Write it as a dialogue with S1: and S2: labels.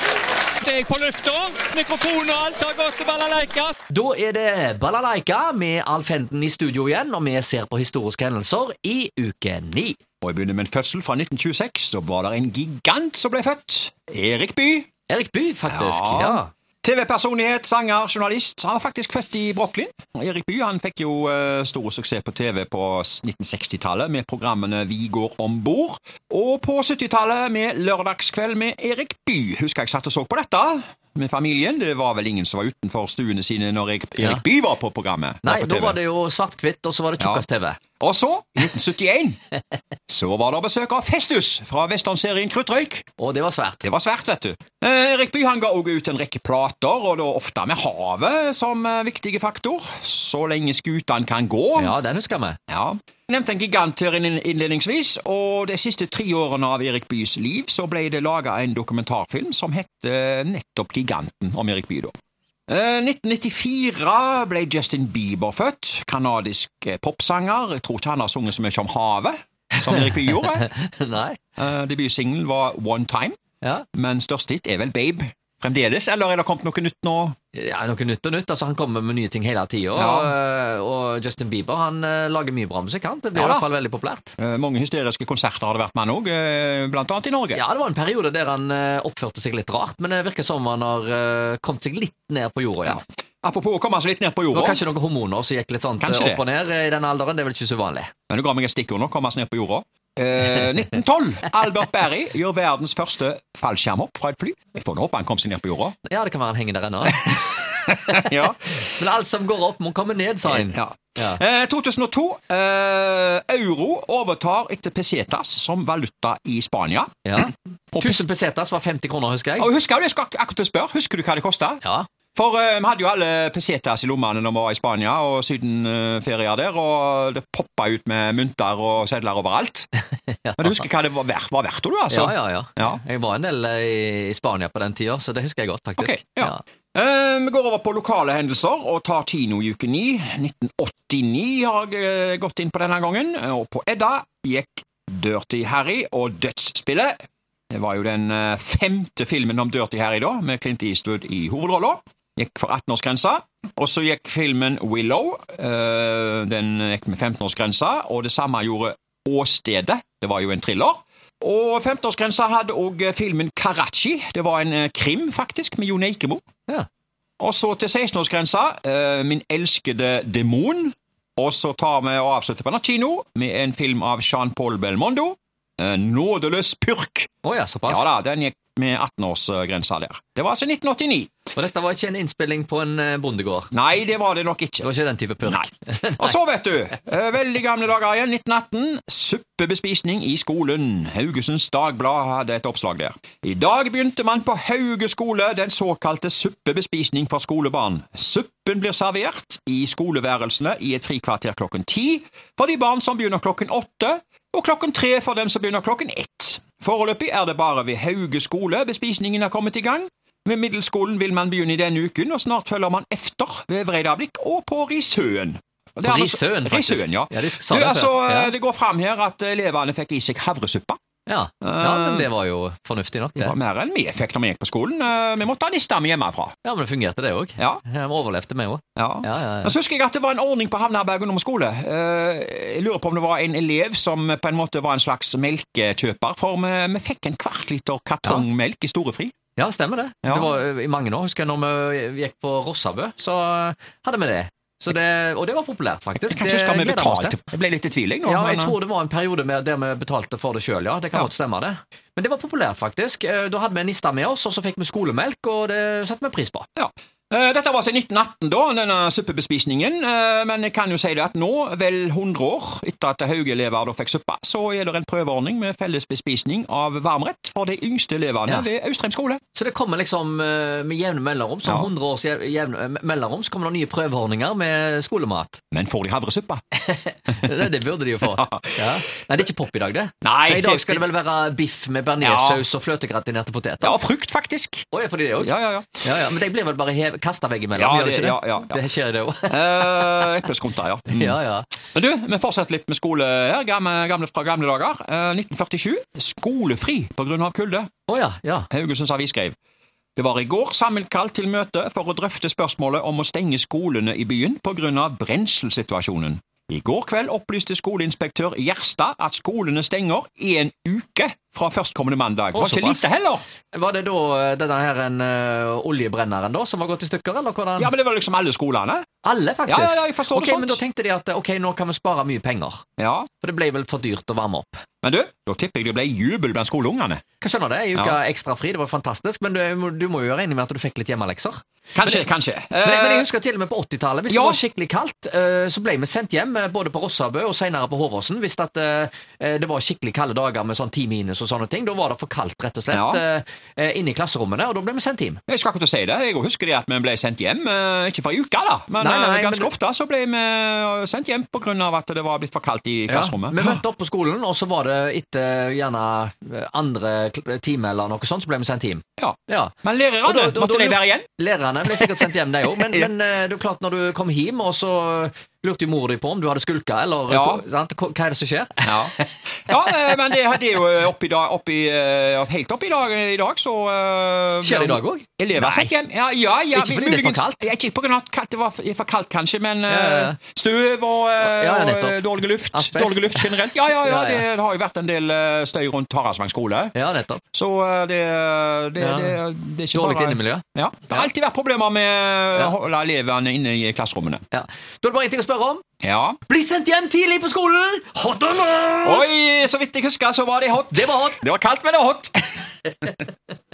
S1: Snart er jeg på lufta. Mikrofon og alt har gått til balalaika.
S2: Da er det Balalaika med Alf Henden i studio igjen, og vi ser på historiske hendelser i uke ni.
S1: Og jeg begynner med en fødsel fra 1926. Da var det en gigant som ble født. Erik Bye.
S2: Erik Bye, faktisk.
S1: Ja.
S2: Ja.
S1: TV-personlighet, sanger, journalist. Han var faktisk født i Brooklyn. Og Erik Bye han fikk jo eh, stor suksess på TV på s- 1960-tallet med programmene Vi går om bord, og på 70-tallet med Lørdagskveld med Erik Bye. Husker jeg satt og så på dette med familien. Det var vel ingen som var utenfor stuene sine når Erik,
S2: Ja.
S1: Erik Bye var på programmet.
S2: Nei,
S1: på
S2: da
S1: TV.
S2: var det jo svart-hvitt, og så var det tjukkas-TV.
S1: Og så, i 1971, så var det besøk av Festus fra westernserien Kruttrøyk.
S2: Og det var svært.
S1: Det var svært, vet du. Eh, Erik Bye han ga også ut en rekke plater, og da ofte med havet som eh, viktige faktor. Så lenge skutene kan gå.
S2: Ja, den husker vi.
S1: Ja. Jeg nevnte en gigant her inn- innledningsvis, og de siste tre årene av Erik Byes liv så ble det laga en dokumentarfilm som het eh, nettopp Giganten, om Erik Bye, da. Eh, 1994 ble Justin Bieber født, kanadisk eh, popsanger. Jeg tror ikke han har sunget så mye om havet som Erik Bye gjorde.
S2: Nei.
S1: Eh, Debutsingelen var One Time.
S2: Ja.
S1: Men størst hit er vel Babe fremdeles, eller er det kommet noe nytt nå?
S2: ja, noe nytt og nytt. Altså, han kommer med nye ting hele tida. Og, eh, og Justin Bieber han eh, lager mye bra musikk. han. Det blir
S1: Ja
S2: i
S1: da.
S2: hvert fall veldig populært.
S1: Eh, mange hysteriske konserter har det vært med han òg, blant annet i Norge.
S2: Ja, Det var en periode der han eh, oppførte seg litt rart, men det virker som han har eh, kommet seg litt ned på jorda
S1: Ja.
S2: igjen.
S1: Apropos å komme seg litt ned på
S2: Det var
S1: jorda.
S2: kanskje noen hormoner som gikk litt sånn eh,
S1: Kanskje det.
S2: opp og ned eh, i den alderen. Det er vel ikke så uvanlig.
S1: Men du ga meg et stikkord nå. Komme seg ned på jorda. Eh, 1912. Albert Berry gjør verdens første fallskjermhopp fra et fly. Jeg får nå håpe han kom seg ned på jorda.
S2: Ja, det kan være han henger der ennå.
S1: ja.
S2: Men alt som går opp, må komme ned, sa han.
S1: Ja.
S2: Ja.
S1: Eh, 2002. Eh, euro overtar etter pesetas som valuta i Spania.
S2: Ja.
S1: Og
S2: 1000 pesetas var 50 kroner, husker jeg.
S1: Og husker du, jeg skal ak- akkurat spørre, husker du hva det kosta?
S2: Ja,
S1: For eh, vi hadde jo alle pesetas i lommene når vi var i Spania og sydenferier der, og det poppa ut med mynter og sedler overalt. Men du husker hva det var verdt, var verdt tror du, altså?
S2: ja, ja, ja.
S1: Ja.
S2: Jeg var en del eh, i, i Spania på den tida, så det husker jeg godt, faktisk.
S1: Ok, ja. Eh, Vi går over på lokale hendelser og tar Tino i uke 9. 1989 har jeg eh, gått inn på denne gangen, og på Edda gikk Dirty Harry og Dødsspillet. Det var jo den eh, femte filmen om Dirty Harry da, med Clint Eastwood i hovedrolla. Gikk for 18-årsgrensa. Og så gikk filmen Willow. eh, Den gikk med 15-årsgrensa, og det samme gjorde Åstedet. Det var jo en thriller. Og 15-årsgrensa hadde òg filmen Karachi. Det var en eh, krim, faktisk, med Jon Eikemo.
S2: Ja.
S1: Og så til 16-årsgrensa, eh, min elskede demon. Og så tar vi og avslutter på Nachino med en film av Jean-Paul Belmondo. Eh, Nådeløs purk.
S2: Å ja, såpass.
S1: Ja da, den gikk med 18-årsgrensa der. Det var altså 1989.
S2: Og dette var ikke en innspilling på en eh, bondegård.
S1: Nei, det var det nok
S2: Det
S1: ikke.
S2: var ikke den type purk.
S1: Nei. Og så, vet du, eh, veldig gamle dager igjen, 1918, suppebespisning i skolen. Haugesunds Dagblad hadde et oppslag der. I dag begynte man på Hauge skole den såkalte suppebespisning for skolebarn. Suppen blir servert i skoleværelsene i et frikvarter klokken ti, for de barn som begynner klokken åtte, og klokken tre for dem som begynner klokken ett. Foreløpig er det bare ved Hauge skole bespisningen er kommet i gang. Ved middelskolen vil man begynne i denne uken, og snart følger man efter ved Vreidablikk og på Risøen. Og det er
S2: På
S1: altså-
S2: Risøen, faktisk.
S1: Risøen, ja.
S2: Ja, de sa
S1: du,
S2: det før.
S1: altså,
S2: Ja.
S1: eh, det går fram her at elevene fikk i seg havresuppe.
S2: Ja.
S1: Eh,
S2: ja, men det var jo fornuftig nok,
S1: Det
S2: det.
S1: var mer enn vi fikk når vi gikk på skolen. Eh, Vi måtte ha niste med hjemmefra.
S2: Ja, men det fungerte, det òg.
S1: Ja.
S2: Vi overlevde, vi òg.
S1: Ja.
S2: Ja, ja,
S1: Men
S2: ja.
S1: så husker jeg at det var en ordning på Havnabergen ungdomsskole. Eh, Jeg lurer på om det var en elev som på en måte var en slags melkekjøper, for vi, vi fikk en kvart liter kartong melk i storefri.
S2: ja stemmer det.
S1: Ja.
S2: Det var eh, i mange år. Husker jeg når vi gikk på Rossabø, så eh, hadde vi det. Så det. Og det var populært, faktisk.
S1: Jeg kan ikke huske om vi
S2: Det gleder oss til.
S1: betalte. Jeg ble litt i tvil, jeg nå.
S2: Ja,
S1: men, eh,
S2: jeg tror det var en periode med der vi betalte for det sjøl, ja. Det kan
S1: Ja.
S2: godt stemme, det. Men det var populært, faktisk. Eh, Da hadde vi en niste med oss, og så fikk vi skolemelk, og det satte vi pris på.
S1: Ja. Eh, Dette var altså i 1918, da, denne suppebespisningen. Eh, Men jeg kan jo si det at nå, vel 100 år etter at Hauge-elever da fikk suppe, så er det en prøveordning med felles bespisning av varmrett for de yngste elevene
S2: Ja.
S1: ved Austrheim skole.
S2: Så det kommer liksom eh, med jevne mellomrom, som
S1: Ja.
S2: 100 års jev- jevne eh, mellomrom, så kommer det nye prøveordninger med skolemat.
S1: Men får de havresuppe?
S2: Det, det burde de jo få. Ja. Nei, det er ikke pop i dag, det.
S1: Nei,
S2: I dag skal det vel være biff med bearnéssaus og fløtegratinerte poteter.
S1: Ja, frukt, faktisk.
S2: Å, er fordi det òg?
S1: Ja, ja, ja.
S2: Ja, ja, men de blir vel bare hev- kasta veggimellom,
S1: Ja,
S2: gjør de
S1: det-
S2: ikke det?
S1: ja, ja, ja.
S2: Det skjer det òg.
S1: Eh, Epleskrunter, ja. Mm.
S2: Ja, ja.
S1: Men du, vi fortsetter litt med skole her, gamle, gamle, fra gamle dager. Eh, 1947, skolefri på grunn av kulde.
S2: Å ja. ja.
S1: Haugesunds Avis skrev Det var i går sammenkalt til møte for å drøfte spørsmålet om å stenge skolene i byen på grunn av brenselsituasjonen. I går kveld opplyste skoleinspektør Gjerstad at skolene stenger i en uke fra førstkommende mandag.
S2: Å,
S1: Var ikke
S2: såpass.
S1: lite heller!
S2: Var det da eh, denne her en, eh, oljebrenneren da, som var gått i stykker, eller hvordan?
S1: Ja, men det var liksom alle skolene.
S2: Alle, faktisk.
S1: Ja, ja, ja, jeg forstår
S2: Ok,
S1: det sånt.
S2: Men da tenkte de at eh, ok, nå kan vi spare mye penger.
S1: Ja,
S2: For det ble vel for dyrt å varme opp.
S1: Men du, da tipper jeg det ble jubel blant skoleungene.
S2: Hva skjønner det? Ei uke ekstra fri, det var fantastisk. Men du, du må jo gjøre enig med at du fikk litt hjemmelekser.
S1: Kanskje, kanskje.
S2: Men, men
S1: Eh,
S2: jeg husker til og med på 80-tallet, hvis
S1: ja.
S2: det var skikkelig kaldt, eh, så ble vi sendt hjem eh, både på Rossabø og senere på Håvåsen hvis at, eh, eh, det var skikkelig kalde dager med sånn 10 minus og sånne ting. Da var det for kaldt, rett og slett,
S1: Ja.
S2: eh, eh, inne i klasserommene, og da ble vi sendt hjem.
S1: Jeg skal ikke til å si det. Jeg husker det at vi ble sendt hjem. eh, Ikke for ei uke, da, men
S2: Nei, nei,
S1: eh, ganske
S2: men-
S1: ofte så ble vi eh, sendt hjem på grunn av at det var blitt for kaldt i klasserommet.
S2: Vi møtte opp på skolen, og så var det etter gjerne eh, andre kl- time eller noe sånt, så ble vi sendt hjem.
S1: Ja.
S2: Ja.
S1: Men
S2: Og da-
S1: lærerne,
S2: da-
S1: måtte
S2: da
S1: de
S2: lur-
S1: være igjen?
S2: Lærerne ble sikkert sendt hjem, de òg, men, men eh, det er jo klart når du kom hjem, og så lurte jo mor di på om du hadde skulka, eller
S1: Ja.
S2: sant? Hva hva er det som skjer?
S1: Ja, eh, men det, det er jo oppi dag, oppi, eh, helt oppi dag i dag, så eh,
S2: Skjer det i dag òg?
S1: Elever
S2: Nei.
S1: er sendt hjem. Ja, ja, ja,
S2: Ikke fordi det er for
S1: muligens-
S2: kaldt?
S1: Ja, Ikke på grunn av at kaldt- det var for- for kaldt, kanskje, men
S2: ja, ja.
S1: eh, støv og, eh,
S2: Ja, ja,
S1: og, eh,
S2: nettopp.
S1: dårlig luft.
S2: Asbest.
S1: Dårlig luft generelt. Ja, ja, ja,
S2: Ja, ja.
S1: Det, det har jo vært en del eh, støy rundt Haraldsvang skole.
S2: Ja, nettopp.
S1: Så eh, det, det,
S2: Ja.
S1: det, det er ikke
S2: Dårlig
S1: bare
S2: innemiljø.
S1: ja. Det har alltid vært problemer med å holde elevene inne i klasserommene.
S2: Ja. Da er det bare én ting å spørre om.
S1: Ja.
S2: Bli sendt hjem tidlig på skolen! Hot or not?
S1: Oi, så vidt jeg husker, så var det hot.
S2: Det var hot.
S1: Det var kaldt, men det var hot.